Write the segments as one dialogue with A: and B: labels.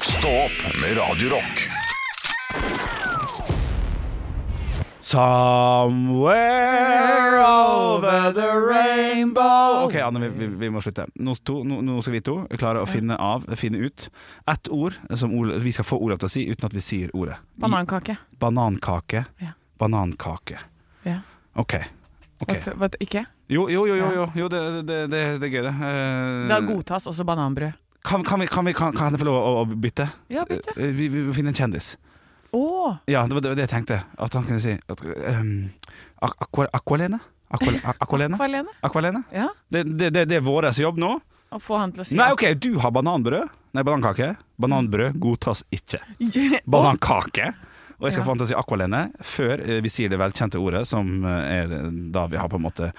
A: Stå opp med Radio Rock.
B: Somewhere over the rainbow Ok, Anne, vi, vi, vi må slutte. Nå, to, nå, nå skal vi to klare å finne av, finne ut ett ord som Ole, vi skal få Olav til å si uten at vi sier ordet.
C: Banankake.
B: I- Banankake.
C: Ja.
B: Banankake.
C: Ja.
B: OK. ok
C: Vet- vet- ikke?
B: Jo, jo, jo, jo, jo, jo det, det, det, det er gøy, det. Eh,
C: Da godtas også bananbrød.
B: kan, kan, vi, kan, vi, kan, kan jeg få lov å, å bytte?
C: Ja, bytte.
B: Eh, Vi, vi må finne en kjendis.
C: Å!
B: Ja, det var det, var det jeg tenkte. At han kunne si at, ehm, Ak- Aqua- Aqualene? Aqua- Aqua- Aqualene?
C: Kvalene.
B: Aqualene?
C: Ja.
B: Det, det, det, det er vår jobb nå.
C: Å få han til å si
B: Nei, OK, du har bananbrød. Nei, banankake. Bananbrød godtas ikke.
C: Ja.
B: Banankake. Og jeg skal
C: Ja.
B: få han til å si akvalene før eh, vi sier det velkjente ordet som eh, er da vi har på en måte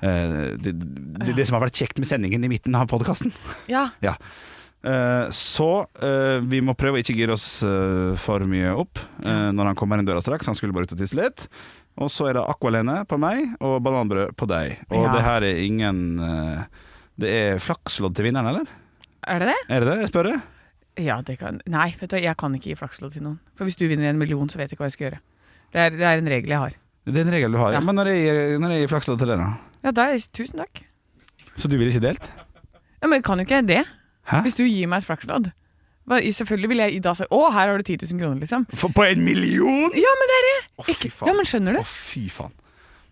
B: eh, det, det, det som har vært kjekt med sendingen i midten av podkasten.
C: Ja.
B: Eh, så eh, vi må prøve å ikke gire oss eh, for mye opp eh, når han kommer inn døra straks. Han skulle bare ut og tisse litt. Og så er det aqualene på meg og bananbrød på deg. Og
C: Ja.
B: det her er ingen eh, Det er flakslodd til vinneren, eller?
C: Er det det?
B: Er det det jeg spør? jeg?
C: Ja, det kan Nei, vet du, hva, jeg kan ikke gi flakslodd til noen. For hvis du vinner en million, så vet jeg ikke hva jeg skal gjøre. Det er, det er en regel jeg har.
B: Det er en regel du har. Ja.
C: Ja.
B: Men når jeg gir, når jeg gir flakslodd til deg, da?
C: Ja, da er Tusen takk.
B: Så du ville ikke delt?
C: Ja, men kan jo ikke jeg det?
B: Hæ?
C: Hvis du gir meg et flakslodd. Hva- Selvfølgelig vil jeg da si Å, her har du 10 000 kroner, liksom.
B: For på en million?!
C: Ja, men det er det!
B: Å,
C: Ikke, ja, men skjønner
B: Å,
C: du?
B: fy faen.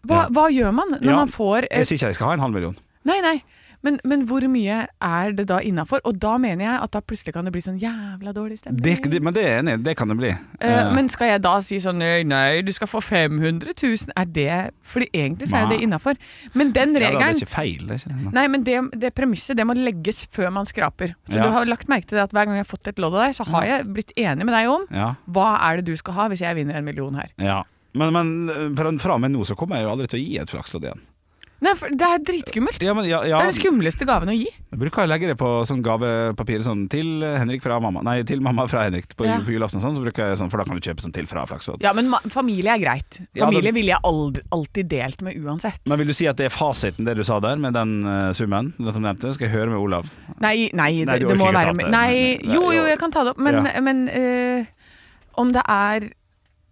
C: Hva,
B: Ja.
C: hva gjør man når
B: Ja,
C: man får eh,
B: Jeg
C: et
B: sier ikke jeg skal ha en halv million.
C: Nei, nei. Men, men hvor mye er det da innafor? Og da mener jeg at da plutselig kan det bli sånn jævla dårlig stemning.
B: Det, det, men det er jeg enig, i. det kan det bli.
C: Eh,
B: Eh,
C: men skal jeg da si sånn nei, nei, du skal få 500 000? Er det Fordi egentlig så er
B: Nei.
C: det innafor. Men
B: ja,
C: den
B: da, det er
C: regelen
B: ikke feil. Det er ikke,
C: Nei, men det, det premisset det må legges før man skraper. Så
B: Ja.
C: du har lagt merke til det at hver gang jeg har fått et lodd av deg, så har jeg blitt enig med deg om
B: Ja.
C: hva er det du skal ha hvis jeg vinner en million her.
B: Ja. Men, men fra, fra og med nå så kommer jeg jo aldri til å gi et flakslodd igjen.
C: Nei, for det er dritskummelt.
B: Ja, men ja, ja.
C: Det er den skumleste gaven å gi.
B: Jeg bruker å legge det på sånn gavepapir sånn, til Henrik fra mamma Nei, til mamma fra Henrik på,
C: Ja.
B: på julaften og sånn, så bruker jeg sånn, for da kan du kjøpe sånn til fra flakslodd.
C: Ja, men ma familie er greit.
B: Ja,
C: Familie
B: det-
C: ville jeg aldri, alltid delt med uansett.
B: Men vil du si at det er fasiten, det du sa der, med den eh, summen du nevnte? Skal jeg høre med Olav?
C: Nei, nei,
B: Nei,
C: det,
B: du
C: det
B: orker
C: må
B: ikke ta
C: være
B: opp det.
C: Nei,
B: Nei,
C: jo,
B: jo.
C: jo, jeg kan ta det opp, men,
B: Ja.
C: men eh, om det er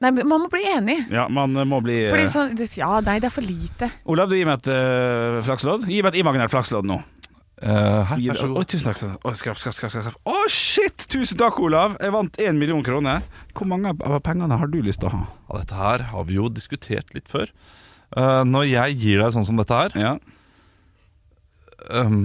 C: Nei, men man må bli enig.
B: Ja, man eh, må bli eh,
C: Fordi sånn det- Ja, nei, det er for lite.
B: Olav, du gir meg et eh, flakslodd. Gi meg et imaginært flakslodd nå.
D: Eh, her,
B: Gi
D: vær
B: det-
D: så
B: Å,
D: god.
B: tusen takk. tusen takk. Å, skrapp, skrapp, skrapp, skrapp. Å, shit! Tusen takk, Olav. Jeg vant én million kroner. Hvor mange av pengene har du lyst til å ha?
D: Ja, dette her har vi jo diskutert litt før. Eh, når jeg gir deg sånn som dette her
B: Ja.
D: ehm,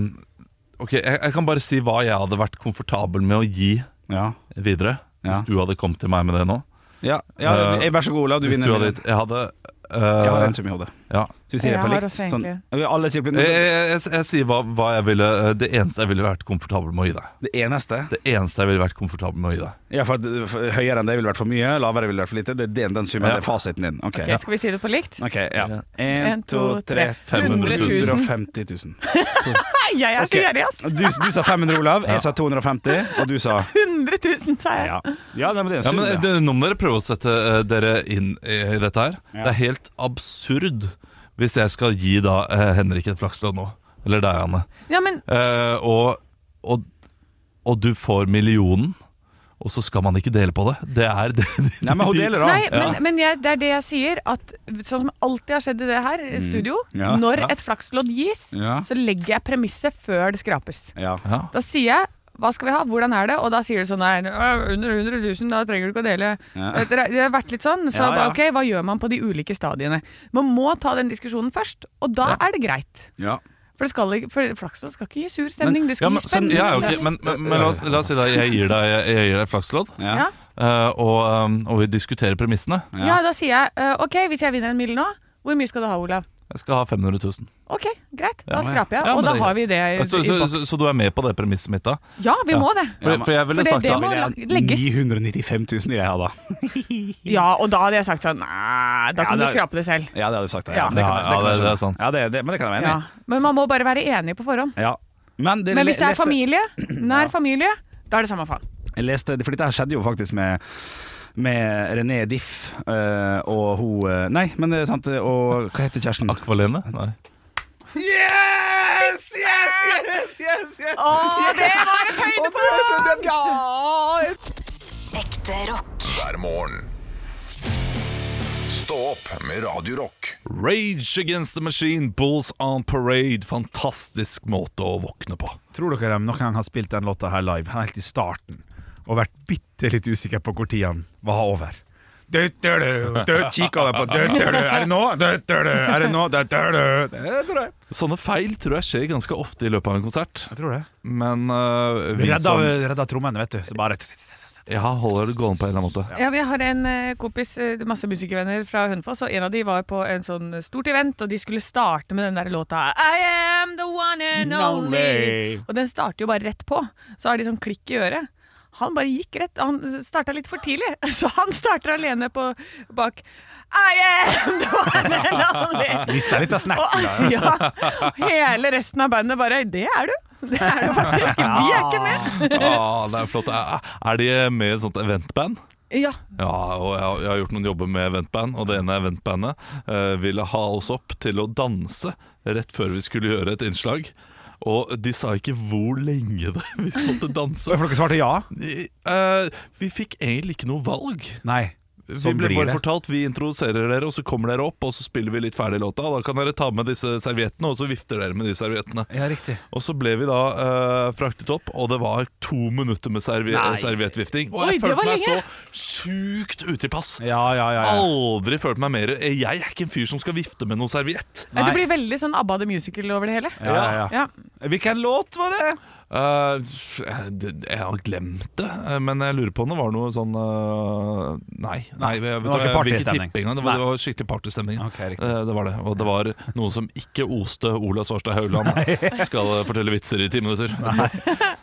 D: Ok, jeg, jeg kan bare si hva jeg hadde vært komfortabel med å gi
B: Ja.
D: videre.
B: Ja.
D: Hvis du hadde kommet til meg med det nå.
B: Ja, ja
D: Eh,
B: vær så god, Olav. Du
D: hvis
B: vinner.
D: du hadde,
B: Jeg
D: jeg hadde
B: har
D: eh,
B: en sum i hodet.
D: ja.
B: Så vi sier
C: Jeg
B: det på
C: har
B: likt.
C: også
B: Sånn,
C: egentlig.
B: vi alle sier på
D: jeg,
B: likt.
D: jeg, jeg, jeg, jeg sier hva, hva jeg ville eh, Det eneste jeg ville vært komfortabel med å gi deg.
B: Det eneste
D: Det eneste jeg ville vært komfortabel med å gi deg.
B: ja, for at, eh, for, Høyere enn det ville vært for mye, lavere ville vært for lite. Det er den, den summen,
D: Ja.
B: det er fasiten din. Ok,
C: Ok, Skal vi si det på likt?
B: Ok, ja.
D: Ja.
B: En, to, tre.
D: 500 000.
B: 250 000.
C: Nei, jeg er så
B: Ok.
C: gjerrig, ass!
B: Du, du sa 500, Olav.
D: Ja.
B: Jeg sa 250, og du sa
C: 100 000, sa jeg.
B: Ja, ja nei, men det er en
D: Ja,
B: sum.
D: men eh,
B: Ja,
D: det, Nå må dere prøve å sette eh, dere inn i i dette her.
B: Ja.
D: Det er helt absurd hvis jeg skal gi da eh, Henrik et flakslodd nå. Eller deg, Anne.
C: Ja, men
D: Eh, og, og, og du får millionen, og så skal man ikke dele på det. Det er det.
B: Nei, men hun deler, da.
C: Nei,
D: Ja.
C: men, men jeg, det er det jeg sier. At sånn som alltid har skjedd i det her studio,
B: Mm. Ja,
C: når
D: ja.
C: et flakslodd gis,
B: Ja.
C: så legger jeg premisset før det skrapes.
B: Ja.
D: Ja.
C: Da sier jeg hva skal vi ha, hvordan er det? Og da sier du sånn nei, øh, under 100 000, da trenger du ikke å dele. Eh,
B: Ja.
C: Det er- det har vært litt sånn, så
B: Ja, ja.
C: ba- ok, hva gjør man på de ulike stadiene? Man må ta den diskusjonen først, og da er det greit.
B: Ja.
C: For, det skal ikke- for flakslodd skal ikke gi sur stemning, det skal
D: Ja, men,
C: gi
D: sånn,
C: spennende
D: ja, ok,
C: stemning.
D: men, men, men la, oss, la oss si da jeg gir deg, jeg, jeg gir deg flakslodd,
B: Ja.
C: ja.
D: eh, og, um, og vi diskuterer premissene.
B: Ja.
C: Ja. da sier jeg øh, ok, hvis jeg vinner en mil nå, hvor mye skal du ha, Olav?
D: Jeg skal ha 500 000.
C: Ok, greit, da
D: Ja, ja.
C: skraper jeg,
D: Ja,
C: og
D: men
C: da
D: det-
C: har vi det i,
D: Så, så,
C: i
D: så,
C: boks.
D: så du er med på det premisset mitt, da?
C: Ja, vi
D: Ja.
C: må det.
D: For,
B: Ja, men-
D: for jeg ville
C: for det-
D: sagt
C: det
D: da
C: må-
B: Ville jeg ha
C: legges.
B: 995 000 vil jeg ha, da.
C: Ja, og da hadde jeg sagt sånn, nei, da
B: Ja,
C: kan du
B: det er-
C: skrape det selv.
B: Ja, det hadde du sagt. det,
C: Ja.
B: kan, jeg-
D: Ja,
B: kan jeg
D: ja, det- det er
B: skjønne.
D: sant.
B: Ja, det, det, men det kan jeg være
C: Ja.
B: enig i.
C: Men man må bare være enig på forhånd.
B: Ja. Men, det,
C: Men hvis det er
B: leste-
C: familie, nær familie, da er det samme faen.
B: Jeg leste, for dette her skjedde jo faktisk med med René Diff eh, og hun eh, Nei, men det er sant. eh, Og hva heter kjæresten?
D: Akvalene? Nei.
B: Yes! Yes! Yes! yes, yes.
C: Å, det var et høydepunkt!
B: Og det er så- det- ja,
E: Ekte rock.
A: hver morgen. Stå opp med Radio Rock.
D: Rage Against the Machine, Bulls on Parade. Fantastisk måte å våkne på.
B: Tror dere de noen gang har spilt den låta her live, helt i starten, og vært bitte litt usikker på når den var over? Du-du-du, du, Kikk over på du-du-du, Er det nå? Du-du-du, Er det nå? Du-du-du. Det tror jeg.
D: Sånne feil tror jeg skjer ganske ofte i løpet av en konsert.
B: Jeg tror det.
D: Men øh, vi
B: Redda,
D: som
B: redda trommene, vet du. Så bare
D: ja, holder det gående på en eller annen måte.
C: Ja, men jeg har en eh, kompis, eh, masse musikervenner fra Hønefoss, og en av de var på en sånn stort event, og de skulle starte med den der låta I am the one and only.
B: Lonely.
C: Og den starter jo bare rett på. Så har de sånn klikk i øret. Han bare gikk rett, han starta litt for tidlig, så han starter alene på bak I am the one and only.
B: Mista litt av snack.
C: Og, ja, og hele resten av bandet bare Det er du! Det er du faktisk. Vi er ikke med.
D: Ah, det er flott. Er er de med i et sånt eventband?
C: Ja,
D: Ja, og jeg har, jeg har gjort noen jobber med eventband, og det ene eventbandet eh, ville ha oss opp til å danse rett før vi skulle gjøre et innslag. Og de sa ikke hvor lenge det vi måtte danse.
B: For dere svarte ja?
D: Eh, vi fikk egentlig ikke noe valg.
B: Nei.
D: Vi
B: Sånn
D: ble
B: blir
D: bare
B: det.
D: fortalt, vi introduserer dere, og så kommer dere opp, og så spiller vi litt ferdig låta. Da kan dere ta med disse serviettene, og så vifter dere med de serviettene.
B: Ja, riktig.
D: Og så ble vi da eh, fraktet opp, og det var to minutter med servi
B: Nei.
D: serviettvifting. Og
C: Oi, det
D: jeg
C: var
D: følte meg så
C: lenge.
D: sjukt utilpass.
B: Ja, ja, ja. ja.
D: Aldri følt meg mer Jeg er ikke en fyr som skal vifte med noe serviett.
C: Nei, Det
B: Nei.
C: blir veldig sånn ABBA the Musical over det hele.
B: Ja, ja, ja.
C: Ja.
B: Hvilken låt var det?
D: Eh, det- jeg har glemt det, eh, men jeg lurer på om det var noe sånn eh, Nei. nei jeg, vet,
B: det var
D: hva,
B: ikke
D: jeg vil
B: partystemning.
D: tippe engang. Det, var- det var skikkelig partystemning.
B: Ok, riktig.
D: Eh, det var det. Og det var noen som ikke oste Ola Svarstad Haugland skal eh, fortelle vitser i ti minutter.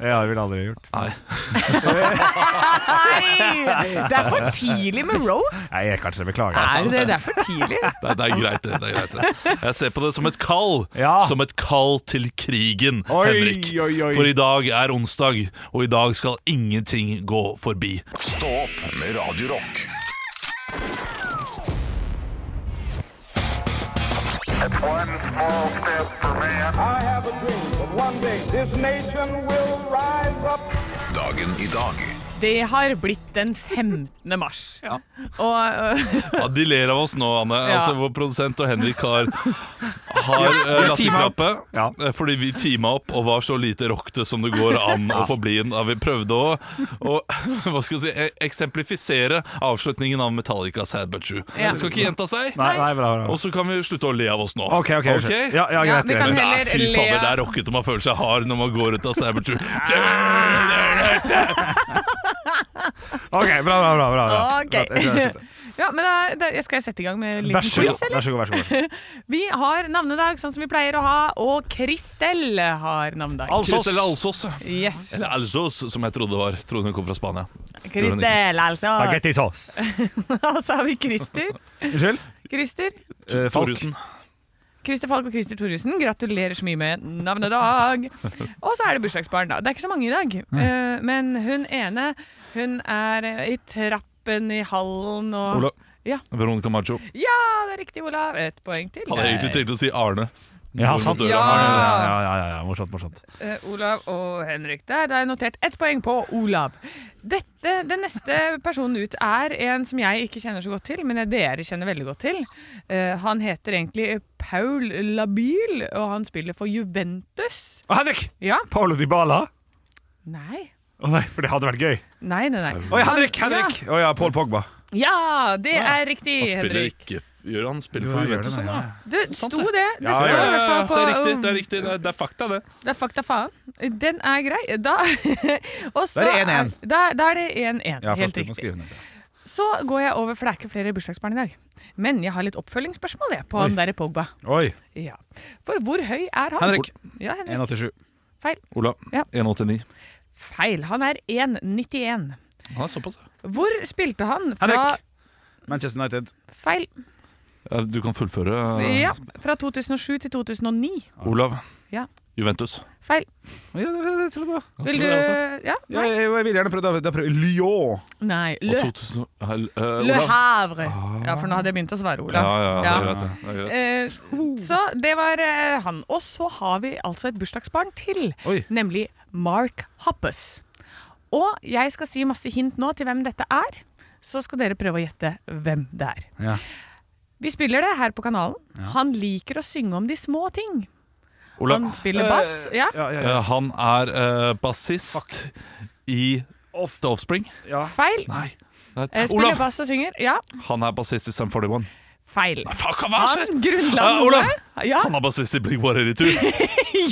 B: Ja, det ville aldri gjort.
D: Nei.
C: Nei! Det er for tidlig med roast.
B: Nei, jeg kanskje beklager.
C: Er det det? Det er for tidlig.
D: Det, er- det er greit, det. det er greit det. Jeg ser på det som et kall.
B: Ja.
D: Som et kall til krigen,
B: Oi,
D: Henrik.
B: oi, oi.
D: For i dag er onsdag, og i dag skal ingenting gå forbi.
A: Stå opp med Radio Rock.
F: I have a dream that one day this nation will rise up.
A: Dagen i dag
C: Det har blitt den 15. mars. Og øh,
D: Ja, de ler av oss nå, Anne.
C: Ja.
D: Altså, vår produsent og Henrik har, har eh, latterklappe.
B: Ja.
D: Eh, Fordi vi teama opp og var så lite rockete som det går an å forbli. Da vi prøvde å, å hva skal jeg si, eh, eksemplifisere avslutningen av Metallica Sad But True.
C: Ja.
D: Det skal ikke gjenta seg.
B: Nei, nei, bra, bra.
D: Og så kan vi slutte å le av oss nå.
B: OK, OK. unnskyld. Ja, ja,
C: Ja,
B: greit.
C: vi kan
D: Men
B: greit.
D: det
C: heller le
D: er, fy fader,
C: av-
D: det er rockete man føler seg hard når man går ut av Sad But True.
B: OK, bra, bra, bra. bra, bra.
C: OK.
B: Bra, jeg skjønner, jeg skjønner.
C: Ja, men da, da, jeg skal jeg sette i gang med en liten
B: Vær så
C: quiz,
B: god.
C: eller?
B: Vær så god, vær så god.
C: Vi har navnedag, sånn som vi pleier å ha, og Kristel har navnedag.
D: Alsos. Eller Alsos.
C: Yes.
D: Eller Alsos, som jeg trodde det var. Trodde hun kom fra Spania.
C: Kristel, altså.
B: Spagetti sauce.
C: Og så har vi Christer.
B: Unnskyld?
C: Christer.
B: Eh, Falk.
D: Thoresen.
C: Christer Falk og Christer Thoresen, gratulerer så mye med navnedag. Og så er det bursdagsbarn, da. Det er ikke så mange i dag. Eh, Men hun ene, hun er eh, i trappen i hallen og
D: Ola.
C: Ja.
D: Veronica Macho.
C: Ja, det er riktig, Olav. Et poeng til.
D: Hadde jeg egentlig tenkt å si Arne.
B: Ja, sant.
D: Hvor
B: Ja,
D: mot døra Arne.
B: ja, ja, ja, ja. Morsomt, morsomt.
C: Eh, Olav og Henrik der. Da har jeg notert ett poeng på Olav. Dette, den neste personen ut er en som jeg ikke kjenner så godt til, men dere kjenner veldig godt til. Eh, han heter egentlig Paul Labyle, og han spiller for Juventus.
B: Å, Henrik!
C: Ja.
B: Paolo Dybala?
C: Nei.
B: Å nei, for det hadde vært gøy.
C: Nei, nei, nei.
B: Oi, Henrik! Henrik! Å ja, Paul Pogba.
C: Ja, det er riktig,
D: Han spiller
C: Henrik.
D: ikke Sånn, Gjør han spiller
B: sånn, Ja,
D: for
B: gjør
D: Juventus,
B: det,
D: han, ja.
C: Du, sto det? Det
B: Ja,
C: står
B: ja,
C: i hvert fall på
D: Det er riktig, det er riktig. Det er, det er fakta, det.
C: Det er fakta faen. Den er grei. Da, og så
B: Da er det 1-1.
C: er- Da, da er det 1-1.
B: Ja,
C: Helt
B: faktisk, må
C: riktig.
B: skrive ned det.
C: Så går jeg over, for det er ikke flere bursdagsbarn i dag. Men jeg har litt oppfølgingsspørsmål jeg, på han der i Pogba.
B: Oi.
C: Ja. For hvor høy er han?
B: Henrik.
C: Ja, Henrik.
B: 1,87.
C: Feil.
D: Ola.
C: Ja.
D: 1,89.
C: Feil. Han er 1,91.
D: Han er såpass. ja.
C: Hvor spilte han fra
B: Henrik. Manchester United.
C: Feil.
D: Eh, Du kan fullføre. eh,
C: Ja, fra 2007 til 2009.
D: Olav.
C: Ja.
D: Juventus.
C: Feil.
B: Ja, det, det, det trodde jeg.
C: Vil du
D: tror det, altså.
C: Ja?
B: Ja, jeg, jeg vil gjerne prøve. Da, da prøver Lyon.
C: Nei.
D: Og
C: Le,
D: 2000, eh, eh,
C: Le
D: Olav. Ah.
C: Havre. Ja, for nå hadde jeg begynt å svare,
D: Ja,
C: Olav.
D: ja, det er
C: Ja.
D: greit. det. Det er greit.
C: Eh, Så det var eh, han. Og så har vi altså et bursdagsbarn til,
B: Oi.
C: nemlig Mark Hoppus. Og jeg skal si masse hint nå til hvem dette er. Så skal dere prøve å gjette hvem det er.
B: Ja.
C: Vi spiller det her på kanalen. Han liker å synge om de små ting.
D: Olav,
C: Eh, Han spiller bass. Ja.
B: Ja, ja, ja.
D: eh, han er eh, bassist i The Offspring.
B: ja.
C: Feil.
D: Nei. Nei.
C: Eh, Spiller
D: Olav,
C: bass og synger. Ja.
D: han er bassist i Sum 41.
C: Feil.
D: Fuck, hva har skjedd?
C: Han grunnla
D: Eh,
C: noe.
D: Olav!
C: Ja,
D: Han er bassist i Blink-182.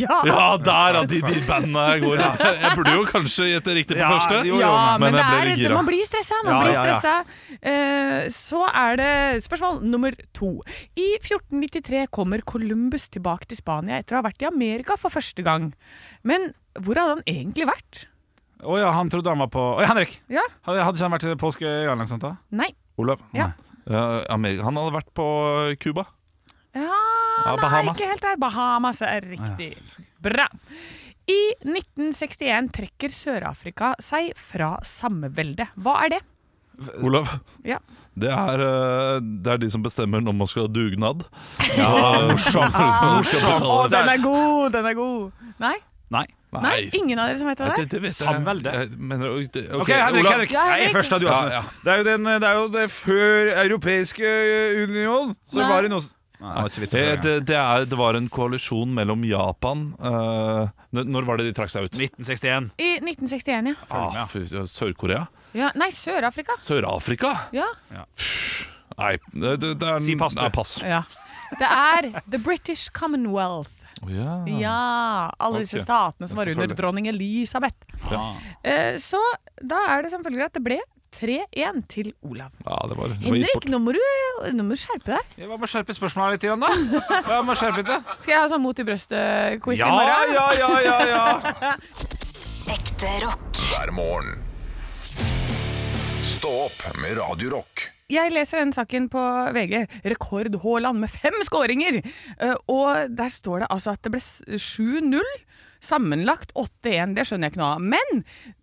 C: ja.
D: Ja, der, ja! De, de bandene jeg går i. Jeg burde jo kanskje gjette riktig på
B: Ja,
D: første.
B: jo,
C: ja,
D: men
C: men det
D: jeg ble
C: er,
D: litt gira.
C: man blir stressa. Man
B: Ja,
C: blir
B: ja, ja.
C: stressa. Eh, så er det spørsmål nummer to. I 1493 kommer Columbus tilbake til Spania etter å ha vært i Amerika for første gang. Men hvor hadde han egentlig vært?
B: Å ja, han trodde han var på Oi, Henrik!
C: Ja,
B: Hadde, hadde ikke han vært i Påskeøya eller noe sånt? da?
C: Nei.
D: Olav.
C: Ja.
D: Ja, Amerika. Han hadde vært på eh, Cuba.
C: Ja,
D: Ja,
C: nei,
D: Bahamas.
C: ikke helt der. Bahamas er riktig. Bra. I 1961 trekker Sør-Afrika seg fra sammeveldet. Hva er det?
D: Olav.
C: Ja.
D: Det er, eh, det er de som bestemmer når man skal ha dugnad.
B: Ja, morsomt.
D: Morsomt.
C: Å, den er god! Den er god. Nei?
B: Nei.
C: Nei, ingen av dere som vet hva det
D: Det,
C: er?
D: det vet jeg.
B: Samvelde.
D: Jeg mener, ok,
B: OK, Henrik.
D: Olav.
B: Henrik.
C: Ja, Henrik.
B: Nei, først da, du, altså.
D: Ja, ja.
B: Det, er jo den, det er jo det før Europeiske union, så
C: Nei.
B: var det noe s- Nei, det var ikke vits
D: Det,
B: i det.
D: det, det, er, det var en koalisjon mellom Japan eh, n- Når var det de trakk seg
B: eh,
D: ut?
B: 1961.
C: I 1961, ja.
D: Ah, fy- Sør-Korea?
C: ja. Nei, Sør-Afrika.
D: Sør-Afrika?
C: Ja.
D: Nei, det, det, det er
B: Si pass, du.
D: Nei, pass.
C: ja. Det er The British Commonwealth.
D: Å, ja.
C: Ja, alle disse
D: Ok.
C: statene som var under
D: Selvfølgelig.
C: dronning Elisabeth. Eh, Så da er det som følger at det ble 3-1 til Olav.
D: ja, det var, det var gitt
C: Henrik,
D: bort.
C: nå må du, nå må du skjerpe deg.
B: Jeg må skjerpe spørsmålet litt, igjen, da. Jeg må skjerpe det.
C: Skal jeg ha sånn mot i brøstet-quiz
B: Ja,
C: i morgen?
B: ja, ja, ja, ja.
E: Ekte rock.
A: hver morgen. Stå opp med Radio Rock.
C: Jeg leser denne saken på VG. Rekord Haaland med fem skåringer! Eh, Og der står det altså at det ble s- 7-0. Sammenlagt 8-1, det skjønner jeg ikke noe av. Men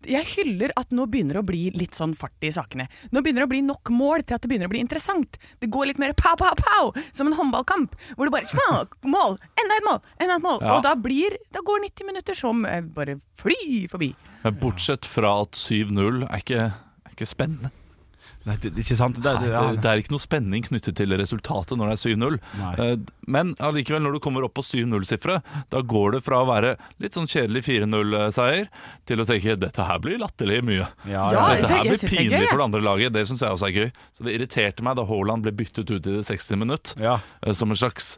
C: jeg hyller at nå begynner det å bli litt sånn fart i sakene. Nå begynner det å bli nok mål til at det begynner å bli interessant. Det går litt mer pow, pow, pow, som en håndballkamp. Hvor det bare smak, mål, enda et mål, enda et mål. Og da, blir, da går 90 minutter som eh, bare fly forbi.
D: Men Bortsett fra at 7-0 er ikke, er ikke spennende.
B: Nei, det, det er ikke sant? Det,
D: Nei,
B: det,
D: det, det er ikke noe spenning knyttet til resultatet når det er 7-0.
B: Nei.
D: Eh, Men allikevel, når du kommer opp på 7-0-sifre, da går det fra å være litt sånn kjedelig 4-0-seier til å tenke dette her blir latterlig mye.
B: Ja,
C: ja.
D: dette
C: det-
D: her
C: jeg
D: blir
C: synes det er
D: pinlig
C: gøy, jeg.
D: for det andre laget. Det syns jeg også er gøy. Så det irriterte meg da Haaland ble byttet ut i det 60. minutt
B: Ja.
D: eh, som en slags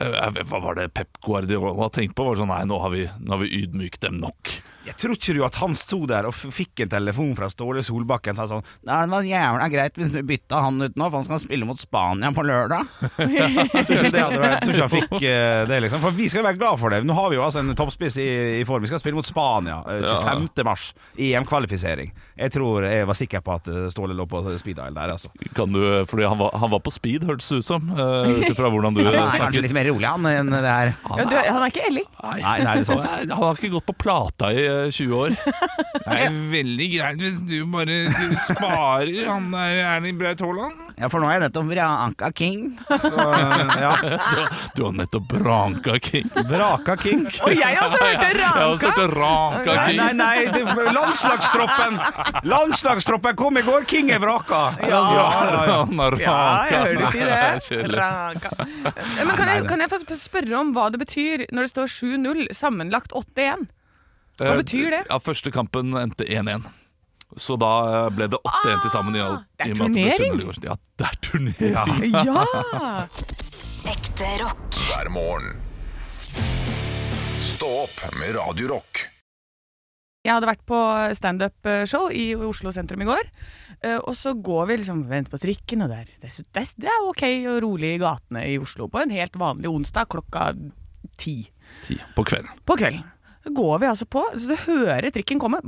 D: eh, jeg vet- Hva var det Pep Guardiola tenkte på? Var sånn, nei, nå har vi, nå har vi ydmyket dem nok.
B: Jeg tror ikke du at han sto der og f- fikk en telefon fra Ståle Solbakken som sa sånn Nei, det var jævla greit hvis du bytta han ut nå, for han skal spille mot Spania på lørdag. jeg tror ikke det hadde vært, jeg tror ikke han fikk eh, det, liksom. For vi skal jo være glad for det. Nå har vi jo altså en toppspiss i, i form. Vi skal spille mot Spania eh, 25. mars. EM-kvalifisering. Jeg tror jeg var sikker på at eh, Ståle lå på speed dial der, altså.
D: Kan du, fordi han var, han var på speed, hørtes det ut som, eh, ut ifra hvordan du snakket.
B: litt mer rolig han enn det her.
C: Ja, du, han er ikke Elling.
B: Nei, nei, det er sant.
D: Nei, Eh, Han har ikke gått på plata i eh, 20 år.
G: Det er veldig greit hvis du bare du sparer han der Erling Braut Haaland.
B: Ja, for nå er jeg nettopp Vranka King. Så, eh, ja.
D: Du har nettopp ranka king.
B: Vraka King.
C: Og jeg har også hørt det
D: Jeg har
C: ranka!
D: også hørt ranka
B: Nei,
D: king.
B: nei, nei, det, landslagstroppen Landslagstroppen kom i går, King er vraka
D: Han har
C: Ja, jeg hører du si
D: Nei,
C: det.
D: kjedelig.
C: Raka. Men kan jeg, kan jeg få spørre om hva det betyr når det står 7-0, sammenlagt 8-1? Hva betyr det?
D: Eh, Ja, Første kampen endte 1-1. Så da eh, ble det 8-1 til sammen. i all-
C: Ah, det er
D: i og med at ble
C: turnering.
D: 7-0 i går. Ja, det er turnering!
C: Ja!
E: Ekte rock.
A: hver morgen. Stå opp med Radio Rock.
C: Jeg hadde vært på standup-show i Oslo sentrum i går. eh, Og så går vi liksom venter på trikken, og det er, det er, det er- det er ok og rolig i gatene i Oslo på en helt vanlig onsdag klokka ti.
D: Ti på kvelden.
C: på kvelden. Så går vi altså på, så hører trikken komme.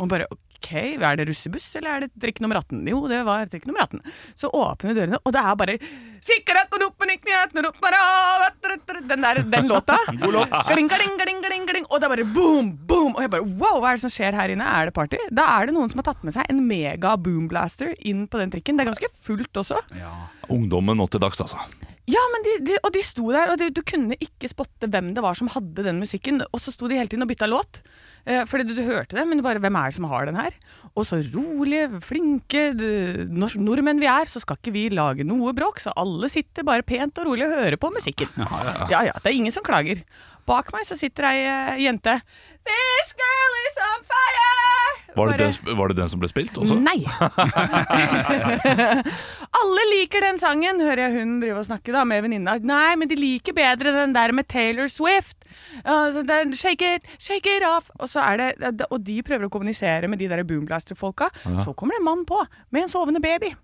C: Og bare OK, er det russebuss, eller er det trikk nummer 18? Jo, det var trikk nummer 18. Så åpner vi dørene, og det er bare Den der, den låta. Gling, gling, gling, gling, gling, og det er bare boom, boom. Og jeg bare wow, hva er det som skjer her inne? Er det party? Da er det noen som har tatt med seg en mega boomblaster inn på den trikken. Det er ganske fullt også.
D: Ungdommen nå til dags, altså.
C: Ja, men de, de, og de sto der, og du- du kunne ikke spotte hvem det var som hadde den musikken. Og så sto de hele tiden og bytta låt. Eh, fordi du, du hørte det, men du bare hvem er det som har den her? Og så rolige, flinke de, nors- nordmenn vi er, så skal ikke vi lage noe bråk. Så alle sitter bare pent og rolig og hører på musikken. Ja ja, det er ingen som klager. Bak meg så sitter ei eh, jente. This girl is on fire!
D: Var det,
C: Bare-
D: den, sp- var det den som ble spilt også?
C: Nei! Alle liker den sangen, hører jeg hun drive og snakke da med venninna. Nei, men de liker bedre den der med Taylor Swift. Altså, den, shake it, shake it off. Og, så er det, og de prøver å kommunisere med de der boomblaster-folka. Så kommer det en mann på med en sovende baby.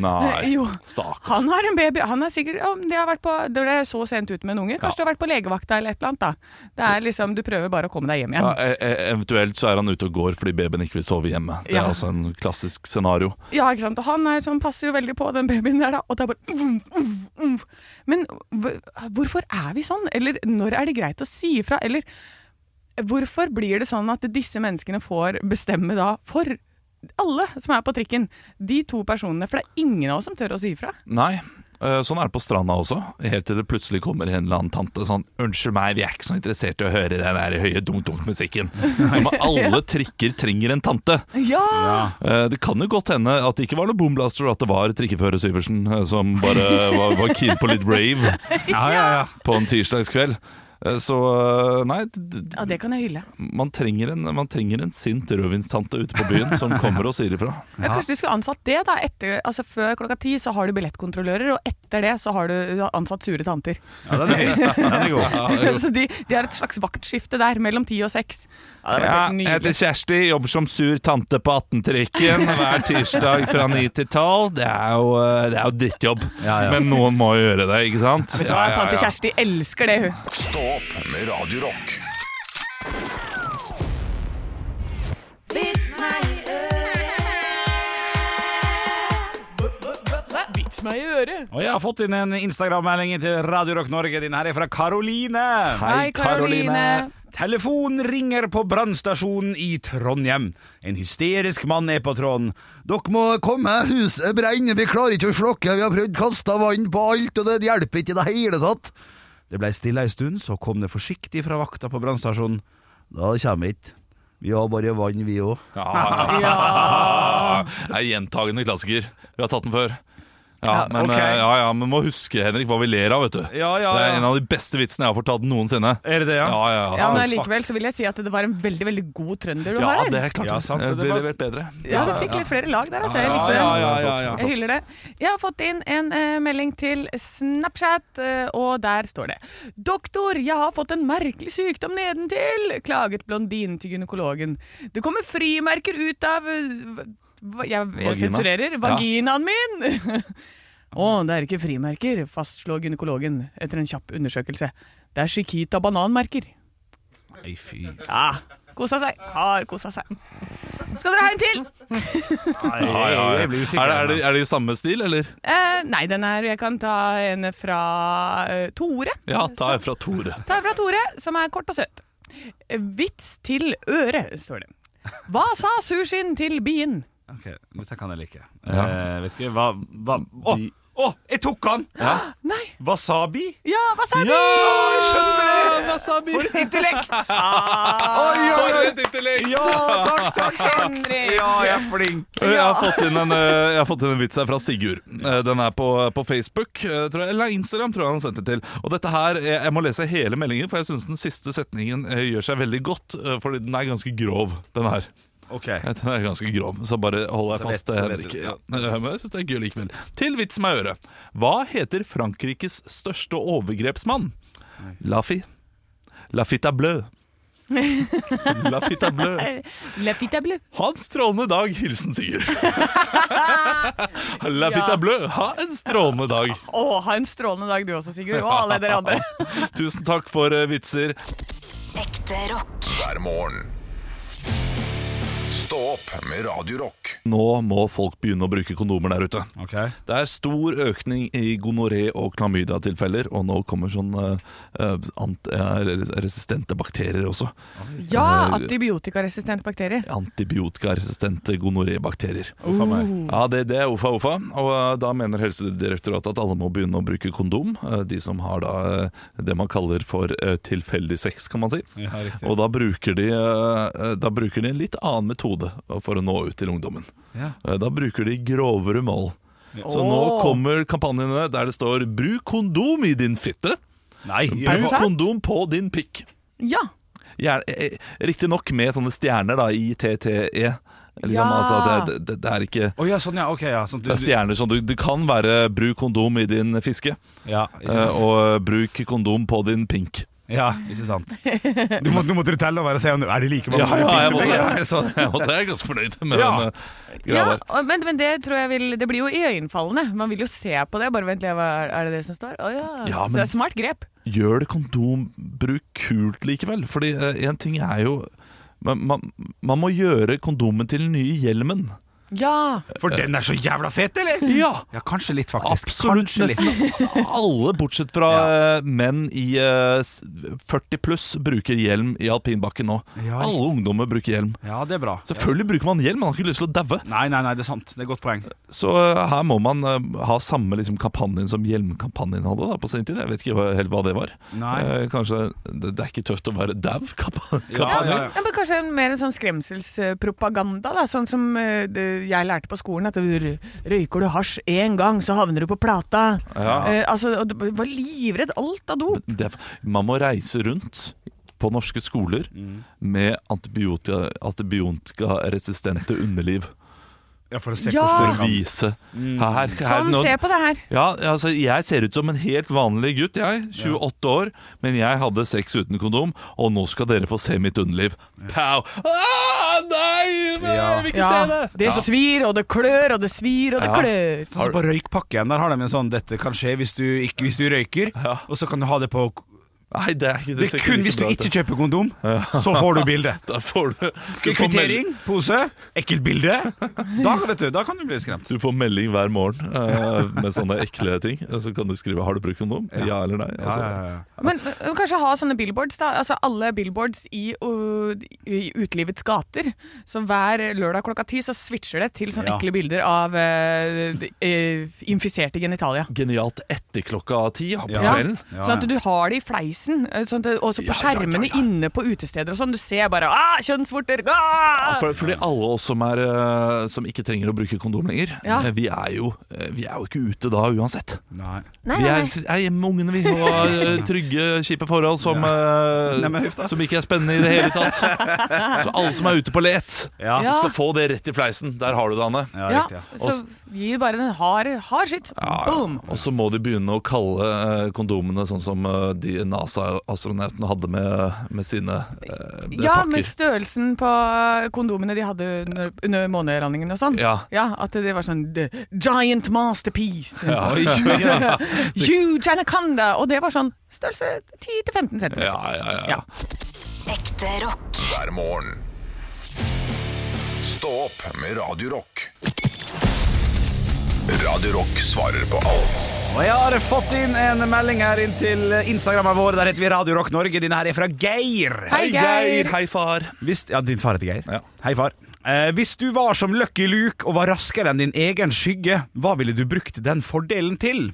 D: Nei.
C: Jo.
D: Stakk.
C: Han har en baby. Han er sikkert ja, men de har vært på, Det ble så sent ut med en unge. Kanskje du har vært på legevakta eller et eller annet. da. Det er liksom, Du prøver bare å komme deg hjem igjen.
D: Ja, e- e- eventuelt så er han ute og går fordi babyen ikke vil sove hjemme. Det er
C: Ja.
D: også en klassisk scenario.
C: Ja, ikke sant? Og han er sånn, passer jo veldig på den babyen der, da. Og det er bare mm, mm, mm. Men hv- hvorfor er vi sånn? Eller når er det greit å si ifra? Eller hvorfor blir det sånn at disse menneskene får bestemme da for alle som er på trikken? De to personene. For det er ingen av oss som tør å si ifra.
D: Nei. eh, Sånn er det på stranda også, helt til det plutselig kommer en eller annen tante sånn 'Unnskyld meg, vi er ikke så interessert i å høre den der høye dunk-dunk-musikken'. Som alle trikker trenger en tante.
C: Ja!
D: Eh, Det kan jo godt hende at det ikke var noe boomblaster, at det var trikkefører Syversen eh, som bare var, var keen på litt rave
B: Ja, ja, ja.
D: på en tirsdagskveld. Eh, Så eh, nei, d- d-
C: Ja, det kan jeg hylle.
D: man trenger en, man trenger en sint rødvinstante ute på byen som kommer og sier ifra.
C: Ja. Kanskje du skulle ansatt det, da. Etter, altså Før klokka ti så har du billettkontrollører, og etter det så har du ansatt sure tanter.
B: ja den er fin. Den er god.
C: så de, de har et slags vaktskifte der, mellom ti og seks. Ja, det
D: Ja,
C: hadde vært
D: jeg
C: helt nydelig.
D: heter Kjersti, jobber som sur tante på 18-trikken hver tirsdag fra 9 til 12. Det er jo, eh, det er jo drittjobb,
B: Ja, ja.
D: men noen må jo gjøre det, ikke sant?
C: Vet du hva, Tante Kjersti elsker det, hun.
A: Stå opp med Radio Rock.
C: Vits meg i øret.
B: Og jeg har fått inn en Instagram-melding til Radio Rock Norge. Din her er fra Karoline.
C: Hei, Karoline. Karoline.
B: Telefon ringer på brannstasjonen i Trondheim. En hysterisk mann er på tråden.
H: Dere må komme, huset brenner, vi klarer ikke å slokke, vi har prøvd kasta vann på alt, og det hjelper ikke i det hele tatt.
B: Det blei stille ei stund, så kom det forsiktig fra vakta på brannstasjonen.
H: Da kommer vi ikke. Vi har bare vann, vi òg.
D: Det er gjentagende klassiker. Vi har tatt den før. Ja,
B: Ja,
D: men,
B: ok.
D: eh, ja, ja, men må huske, Henrik, hva vi ler av, vet du.
B: Ja, ja,
D: Det
B: ja.
D: er en av de beste vitsene jeg har fortalt noensinne.
B: Er det det, ja?
D: Ja, ja,
C: Ja, men
D: fuck.
C: Likevel så vil jeg si at det var en veldig veldig god trønder du
D: ja
C: har
D: det
C: her.
D: er klart.
B: Ja, sant, så det
D: det blir
B: var-
D: levert bedre.
C: Ja, Du fikk litt flere lag der, altså. Jeg
B: Ja,
C: likte
B: ja,
C: det.
B: ja, ja, ja.
C: Jeg hyller det. Jeg har fått inn en eh, melding til Snapchat, eh, og der står det Doktor, jeg har fått en merkelig sykdom nedentil, klaget blondinen til gynekologen. Det kommer frimerker ut av eh, hva- Jeg, jeg
D: Vagina.
C: sensurerer. Vaginaen min! Å, det er ikke frimerker, fastslår gynekologen etter en kjapp undersøkelse. Det er Chiquita bananmerker.
B: Ei, fy.
C: Ja, kosa seg. Har kosa seg. Skal dere ha en til?
D: Ja, ja, ja.
B: Jeg blir usikker.
D: Er, det, er, det, er det i samme stil, eller?
C: Eh, nei, den er Jeg kan ta en fra eh, Tore.
D: Ja, ta en fra Tore.
C: Ta en fra Tore, som er kort og søt. Vits til øret, står det. Hva sa sushien til bien?
B: Ok, Dette kan jeg like.
D: Ja.
B: Eh, vet ikke hva Å! Å, jeg tok han!
C: Nei,
B: Wasabi?
C: ja, hva sa
D: Ja,
C: bien?
D: jeg skjønte det! Wasabi. For et intellekt! Ja, takk, takk.
C: Henrik?
B: Ja, jeg er flink!
D: Jeg har fått inn en, eh, jeg har fått inn en vits her fra Sigurd. Eh, Den er på, på Facebook, eh, tror jeg, eller Instagram, tror jeg han sendte til. Og dette her, jeg, jeg må lese hele meldingen, for jeg syns den siste setningen eh, gjør seg veldig godt. eh, Fordi den er ganske grov, den her.
B: Ok.
D: Eh, Den er ganske grov, så bare holder
B: Så
D: jeg fast.
B: vet-
D: eh,
B: så vet
D: Henrik.
B: du.
D: Ja. Eh, Men jeg syns det er gøy likevel. Til vits meg øre. Hva heter Frankrikes største overgrepsmann? Lafi. La fitta bleu. La fitta bleu.
C: Le petit bleu.
D: Hans strålende dag, hilsen Sigurd. La fitta bleu, ha en strålende dag.
C: Å, ha en strålende dag du også, Sigurd. Og alle dere andre.
D: Tusen takk for eh, vitser.
E: Ekte rock.
A: hver morgen. Stå opp med Radio Rock.
D: Nå må folk begynne å bruke kondomer der ute.
B: Ok.
D: Det er stor økning i gonoré- og klamydia-tilfeller, og nå kommer sånn eh, eh, ant- eh, resistente bakterier også.
I: Ja, antibiotikaresistente bakterier.
D: Antibiotikaresistente gonoré-bakterier.
B: Faen meg.
D: Ja, det, det er ufa ufa. Og eh, da mener Helsedirektoratet at alle må begynne å bruke kondom. eh, De som har da eh, det man kaller for eh, tilfeldig sex, kan man si.
B: Ja, riktig.
D: Og da bruker, de, eh, da bruker de en litt annen metode for å nå ut til ungdommen.
B: Ja.
D: Eh, Da bruker de grovere mål. Så nå
C: Åh.
D: kommer kampanjene der det står 'bruk kondom i din fitte'.
B: Nei, gjør
D: Bruk
B: det.
D: kondom på din pikk. eh,
C: Ja.
D: Riktignok med sånne stjerner da, i TTE. Liksom,
C: Ja.
D: altså, det, det, det er ikke
B: Å ja, sånn ja, ok ja. Sånn, du,
D: det er
B: du,
D: stjerner som du, du kan være 'bruk kondom i din fiske'
B: ja, ikke
D: eh,
B: sant.
D: og 'bruk kondom på din pink'.
B: ja, ikke sant. Du må, nå måtte du telle og være og se om det er de like mange.
D: Ja, ja, jeg måtte,
B: Ja,
D: jeg, så, jeg, måtte, jeg er ganske fornøyd med
B: Ja.
D: den eh, greia
C: ja
D: der.
C: og- men, men det tror jeg vil Det blir jo iøynefallende. Man vil jo se på det. Bare vent, litt, hva er- er det det som står? Å ja.
D: Ja,
C: Så
D: men-
C: det er smart grep.
D: gjør det kondombruk kult likevel. Fordi én ting er jo man, man, man må gjøre kondomen til den nye hjelmen.
C: Ja.
B: For den er så jævla fet, eller?
D: Ja!
B: Ja, kanskje litt, faktisk.
D: Absolutt
B: Kanskje litt.
D: nesten alle, bortsett fra eh, menn i eh, s- 40 pluss, bruker hjelm i alpinbakken nå.
B: Ja.
D: Alle ungdommer bruker hjelm.
B: Ja, det er bra.
D: Selvfølgelig bruker man hjelm, man har ikke lyst til å daue.
B: Nei, nei, nei, det er sant. Det er et godt poeng.
D: Så eh, her må man eh, ha samme liksom, kampanjen som hjelmkampanjen hadde da, på sin tid. Jeg vet ikke hva, helt hva det var.
B: Nei.
D: Eh, kanskje det, det er ikke tøft å være dau-kampanje.
B: Ja, ja, ja.
C: Ja, men Kanskje mer en sånn skremselspropaganda, da. Sånn som eh, det- jeg lærte på skolen, at du røyker du hasj én gang, så havner du på plata.
D: Ja.
C: Eh, altså, og du var livredd alt av dop.
D: det, er- man må reise rundt på norske skoler
B: Mm.
D: med antibiotika, antibiotikaresistente underliv
B: Ja, for å se
C: Ja.
D: for
B: hvordan
D: å vise
B: Mm.
D: her, her
C: Sånn,
D: nå-
C: se på det her.
D: ja, altså, Jeg ser ut som en helt vanlig gutt, jeg. 28 år. Men jeg hadde sex uten kondom, og nå skal dere få se mitt underliv. Pow! Ah, nei! nei
B: Ja.
D: Jeg vil ikke se
C: Ja,
D: det!
C: det svir, og det klør, og det svir, og det
D: Ja.
B: Sånn
C: klør.
B: som på røykpakken, der har de en sånn 'dette kan skje hvis du, ikke, hvis du røyker',
D: Ja.
B: og så kan du ha det på
D: Nei, det er ikke
B: Det
D: ser
B: er
D: ikke
B: kun
D: like
B: hvis du
D: bra ut,
B: ikke kjøper kondom, så får du bilde.
D: Da får du, du får melding-
B: Kvittering, pose, ekkelt bilde. Da, vet du, da kan du bli skremt.
D: Du får melding hver morgen eh, med sånne ekle ting. Så kan du skrive 'Har du brukt kondom?' Ja, eller nei.
B: Ja,
D: Altså,
B: ja, ja.
C: Men øh, kanskje ha sånne billboards, da. Altså alle billboards i, øh, i utelivets gater. Så hver lørdag klokka ti så switcher det til sånne
B: Ja.
C: ekle bilder av øh, de- øh, infiserte genitalia.
D: Genialt etter klokka ti på
B: Ja.
D: kvelden.
B: Ja,
C: Sånn at
B: ja.
C: du har det i fleisen, øh, sånn at, det- også på
D: Ja, ja, ja,
C: skjermene
D: ja.
C: inne på utesteder og sånn. Du ser bare ah, kjønnsvorter! Ah!
D: For, fordi alle oss som, er, eh, som ikke trenger å bruke kondom lenger,
C: Ja.
D: eh, vi, er jo, eh, vi er jo ikke ute da uansett.
B: Nei.
D: vi er, er hjemme med ungene, vi, og har eh, trygge, kjipe forhold som, eh,
B: Nei, men huff da.
D: som ikke er spennende i det hele tatt. Så alle som er ute på let,
B: Ja,
C: Ja.
D: skal få det rett i fleisen. Der har du det, Anne.
B: ja,
C: Ja,
B: riktig. ja.
C: så gir bare den hard, hard skitt. Boom!
D: Og så må de begynne å kalle eh, kondomene sånn som eh, de NASA-astronautene hadde med, med sine eh,
C: Ja,
D: pakker.
C: med størrelsen på eh, kondomene de hadde under, under månelandingen og sånn.
D: Ja.
C: at det var sånn the Giant masterpiece.
B: Oi, oi, oi.
C: Huge anaconda! Og det var sånn størrelse 10-15 cm.
D: Ja, ja, ja.
C: Ja.
J: Ekte rock.
A: hver morgen. Stå opp med Radio Rock. Radio Rock svarer på alt
B: Og jeg har fått inn en melding her inn til Instagrammen vår. Der heter vi Radio Rock Norge. Denne her er fra Geir.
C: Hei, Geir.
D: Hei, far.
B: Hvis, ja, din far heter Geir.
D: Ja.
B: Hei, far. Eh, hvis du var som Lucky Luke og var raskere enn din egen skygge, hva ville du brukt den fordelen til?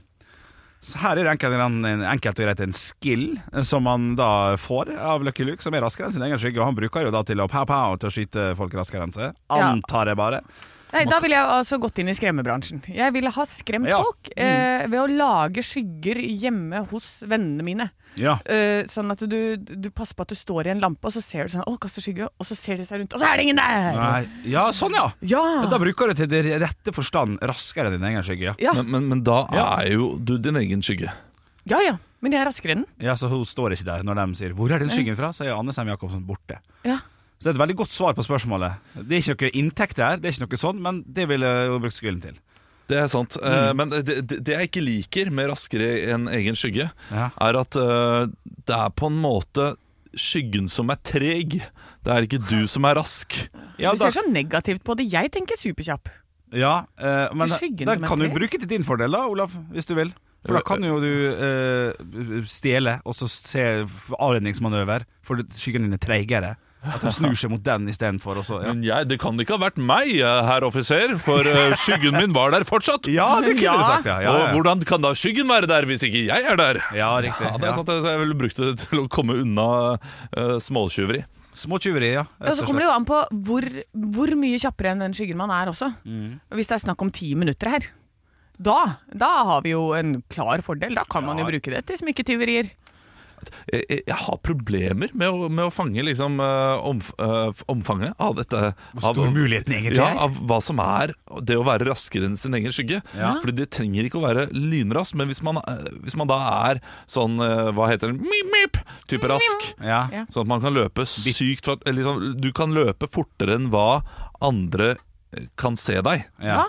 B: Så her er det enkelt, en- enkelt og greit en skill eh, som man da får av Lucky Luke, som er raskere enn sin egen skygge. Og han bruker jo da til å pow pow til å skyte folk raskere enn seg.
C: Ja.
B: Antar jeg bare.
C: Nei, da ville jeg altså gått inn i skremmebransjen. Jeg ville ha skremt
B: Ja. Mm.
C: folk eh, ved å lage skygger hjemme hos vennene mine.
B: Ja.
C: Eh, sånn at du, du passer på at du står i en lampe, og så ser du sånn Å, kaster skygge. Og så ser de seg rundt, og så er det ingen der!
B: Nei. ja, sånn ja.
C: Ja.
B: Da bruker du til det rette forstand raskere enn din egen skygge. Ja,
C: Ja.
D: Men, men, men da
B: Ja.
D: er jo du din egen skygge.
C: ja ja. Men jeg er raskere enn den.
B: ja Så hun står ikke der når de sier 'Hvor er den skyggen fra?' så er Anne Sem Jacobsen borte.
C: Ja.
B: Så det er et veldig godt svar på spørsmålet. Det er ikke noe inntekt der, det er ikke noe sånn, men det ville jeg jo brukt skylden til.
D: Det er sant.
B: Mm.
D: Eh, men det, det, det jeg ikke liker med Raskere enn egen skygge,
B: Ja.
D: er at eh, det er på en måte skyggen som er treg. Det er ikke du som er rask.
B: Ja,
C: Du
B: da,
C: ser så negativt på det. Jeg tenker superkjapp.
B: ja eh, men
C: Skyggen
B: da
C: som en
B: kan du
C: tre.
B: bruke til din fordel, da, Olaf, hvis du vil. For da kan jo du eh, stjele og så se avredningsmanøver, for skyggen din er treigere. At han snur seg mot den istedenfor. og så- Ja.
D: Men jeg, det kan ikke ha vært meg, eh, herr offiser, for eh, skyggen min var der fortsatt.
B: ja, det kunne du sagt, ja. ja,
D: Og
B: ja.
D: hvordan kan da skyggen være der hvis ikke jeg er der?
B: ja riktig.
D: Ja, det er
B: Ja.
D: sant, så Jeg ville brukt det til å komme unna eh, småtyveri.
B: Små tyveri, ja.
C: Og så kommer det jo an på hvor, hvor mye kjappere enn den skyggen man er også.
B: Mm.
C: Og Hvis det er snakk om ti minutter her, da, da har vi jo en klar fordel. Da kan man jo bruke det til smykketyverier.
D: Jeg, jeg, jeg har problemer med å, med å fange liksom, eh, omf eh, omfanget av dette. Hvor
B: stor muligheten egentlig
D: ja,
B: er.
D: Av hva som er det å være raskere enn sin egen skygge.
B: Ja.
D: Fordi det trenger ikke å være lynrask, men hvis man, eh, hvis man da er sånn, eh, hva heter det, mip, mip, type rask.
B: Ja.
C: Ja.
D: Sånn at man kan løpe sykt fort eller liksom, Du kan løpe fortere enn hva andre eh, kan se deg.
B: Ja.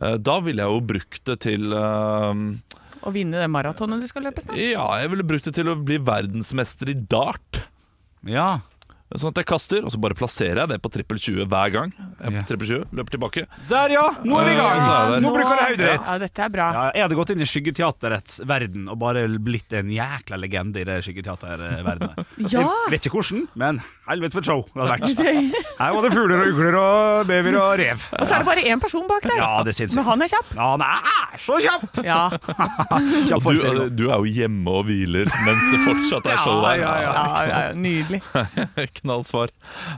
D: Eh, Da ville jeg jo brukt det til eh,
C: Å vinne det maratonet du skal løpe snart.
D: Ja, jeg ville brukt det til å bli verdensmester i dart.
B: ja.
D: Sånn at jeg kaster, og så bare plasserer jeg det på trippel 20 hver gang. Jeg er
B: Ja.
D: på trippel 20, løper tilbake.
B: Der, ja! Nå er vi i gang!
D: Ja, så er det.
B: Nå bruker jeg hodet ditt.
C: Ja, dette er bra.
B: Ja, jeg hadde gått inn i skyggeteaterets verden og bare blitt en jækla legende i det skyggeteaterverdenen.
C: Ja.
B: Jeg vet ikke hvordan, men helvete for et show det hadde vært. Her var det fugler og ugler og babyer og rev.
C: Og så er det bare én person bak der.
B: Ja, det er sinnssykt.
C: Men han er kjapp.
B: Ja, han er så kjapp!
C: Ja.
B: Kjapp
D: Og du, eh,
B: forestilling.
D: du er jo hjemme og hviler mens det fortsatt er
B: Ja,
D: show der.
B: ja, ja.
C: Ja, ja, ja, nydelig.
D: Knallsvar.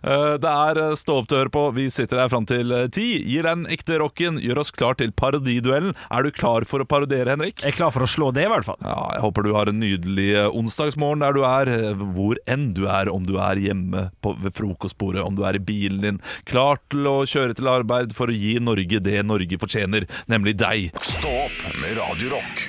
D: Eh, Det er eh, stå opp til å høre på. Vi sitter her fram til eh, ti. Gi den ekte rocken. Gjør oss klar til parodiduellen. Er du klar for å parodiere, Henrik?
B: Jeg er klar for å slå det, i hvert fall.
D: Ja, jeg håper du har en nydelig eh, onsdagsmorgen der du er, eh, hvor enn du er, om du er hjemme på, ved frokostbordet, om du er i bilen din, klar til å kjøre til arbeid for å gi Norge det Norge fortjener, nemlig deg.
A: Stå opp med Radio Rock.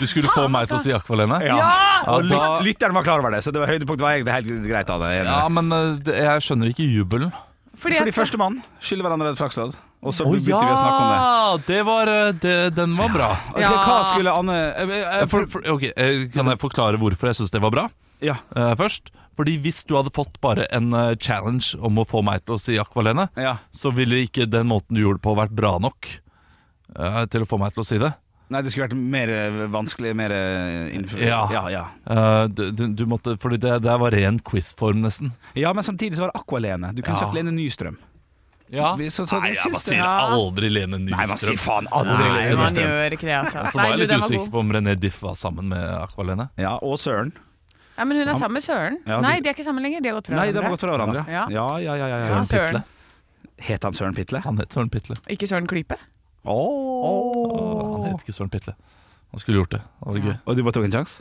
D: Du skulle få meg til å si akvalene?
B: altså. Ja. Og
D: Ja, da-
B: lyt- lytteren var klar over det, så det var høydepunkt var egentlig helt greit av eh, det. Jeg er enig.
D: men jeg skjønner ikke jubelen.
C: Fordi
B: Fordi
C: at-
B: førstemann skylder hverandre et flakslodd, og så begynte vi å snakke om det.
D: eh, den var bra.
B: Ok, Hva skulle Anne eh, eh,
D: For, for, ok, eh, Kan jeg forklare hvorfor jeg syns det var bra?
B: Ja.
D: eh, først? Fordi Hvis du hadde fått bare en eh, challenge om å få meg til å si akvalene,
B: ja.
D: så ville ikke den måten du gjorde det på vært bra nok eh, til å få meg til å si det.
B: Nei, det skulle vært mer eh, vanskelig, mer eh, innenfor
D: Ja.
B: ja, ja.
D: Eh, du, du, du måtte, fordi det der var ren quizform, nesten.
B: Ja, men samtidig så var det Aqualene. Du kunne
D: Ja.
B: sagt Lene Nystrøm.
D: Ja.
B: Vi- Så, så det syns det-
D: aldri Lene
B: Nei, man sier faen aldri
C: Nei,
B: Lene
C: man
B: Nystrøm.
C: gjør ikke det, altså.
D: Så
C: Nei,
D: var jeg
C: du,
D: litt
C: den var
D: usikker
C: god.
D: på om René Diff var sammen med Akvalene.
B: Ja, og Søren.
C: Ja, men hun er sammen med Søren.
B: Ja, du-
C: Nei, de er ikke sammen lenger. De har gått fra
B: Nei, de har
C: hverandre.
B: gått fra hverandre. Ja,
C: Ja.
B: ja, ja. ja, ja,
C: Ja, Søren.
D: Pitle.
B: Het han Søren Pitle?
D: Han het Søren Pitle.
C: Ikke Søren Klype.
D: Han het ikke Søren Pitle. Han skulle gjort det. Det var gøy.
B: Og du bare tok en sjanse?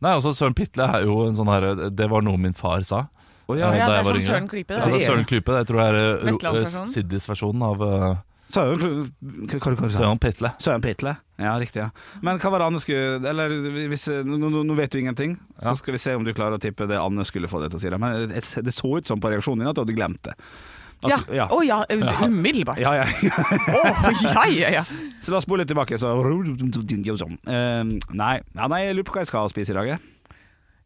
D: Nei, altså Søren Pitle er jo en sånn her Det var noe min far sa. eh,
B: Å ja.
C: Ja,
D: da
C: det
D: jeg
C: er
D: var
C: som
D: yngre.
C: Søren Klype.
D: Ja,
C: Det.
D: det er Søren Klype. Det tror jeg er eh, ro- eh,
C: Vestlandsversjonen.
D: Siddis-versjonen av eh,
B: Søren Hva hva- hva sa du?
D: Søren Pitle.
B: Søren Pitle. Ja, riktig. ja Men hva var det Anne skulle Eller hvis, nå, nå, nå vet du ingenting, så skal vi se om du klarer å tippe det Anne skulle få deg til å si. det. Men det det så ut som på reaksjonen din at du hadde glemt det. At-
C: Ja.
B: ja.
C: Å ja, umiddelbart.
B: Ja, ja,
C: Å, ja, ja, ja.
B: Så la oss spole litt tilbake. Så. Eh, nei. Ja, nei, jeg lurer på hva jeg skal spise i dag. jeg.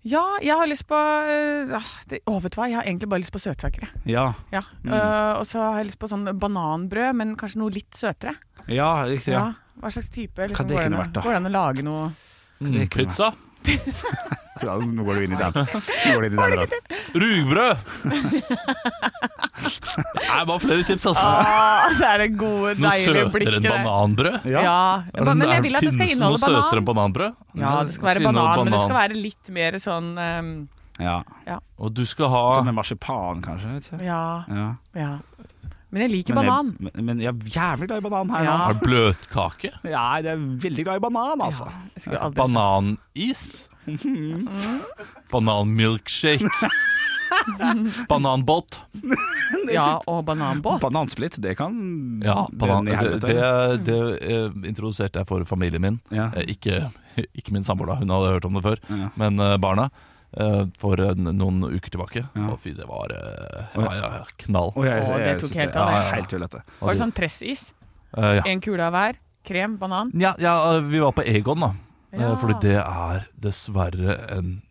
C: Ja, jeg har lyst på øh, ah, det, Å, vet du hva, jeg har egentlig bare lyst på søtsaker. jeg.
B: Ja,
C: Ja.
B: Mm.
C: Øh, og så har jeg lyst på sånn bananbrød, men kanskje noe litt søtere.
B: ja riktig. Ja.
C: Hva slags type? Liksom,
B: det
C: går, det
B: kunne
C: an, å-
B: vært, da?
C: går det an å lage noe
D: Mm,
B: Det kunne
D: pizza.
B: Ja, nå går du inn i den. Nå går du inn i den da.
D: Rugbrød! det er bare flere tips, altså.
C: ah, Det er det gode,
D: Noe
C: deilige
D: søtere
C: blikket
D: enn
C: der.
D: bananbrød?
C: Ja.
B: Ja.
D: Er
C: Ba- Men jeg
D: er-
C: vil at det skal
D: finnes noe
C: inneholde
D: søtere enn
C: banan.
D: bananbrød?
C: Ja, det skal være
D: inneholde
C: banan, men det skal være litt mer sånn øhm,
B: ja.
D: Og du skal ha
B: Som med marsipan, kanskje. Vet jeg.
C: Ja,
B: Ja.
C: ja. Men jeg liker
B: Men jeg-
C: banan.
B: Men, men jeg er jævlig glad i banan her
C: Ja.
B: nå.
D: Er det bløtkake?
B: Ja, jeg er veldig glad i banan, altså.
C: Jeg skulle aldri sagt-
D: Bananis? Bananmilkshake? Bananbåt?
C: Ja, og bananbåt.
B: Banansplitt, det kan
D: Ja, banan,
B: den i
D: det,
B: helvete.
D: det, det eh, introduserte jeg for familien min.
B: Ja.
D: Eh, Ikke, ikke min samboer, da, hun hadde hørt om det før,
B: Ja.
D: men eh, barna. eh, For eh, noen uker tilbake.
B: Ja.
D: Å, fy, det var eh, ja, ja, ja, knall.
B: Å, jeg-
C: Å,
B: jeg-
C: det
B: jeg
C: tok
B: synes
C: helt av,
B: Ja,
D: det.
B: helt tullete.
D: Og
C: Var det
D: du-
C: sånn tressis?
D: Eh, ja.
C: En kule av hver? Krem? Banan?
D: Ja, ja, vi var på Egon, da. Ja. Fordi det er dessverre en,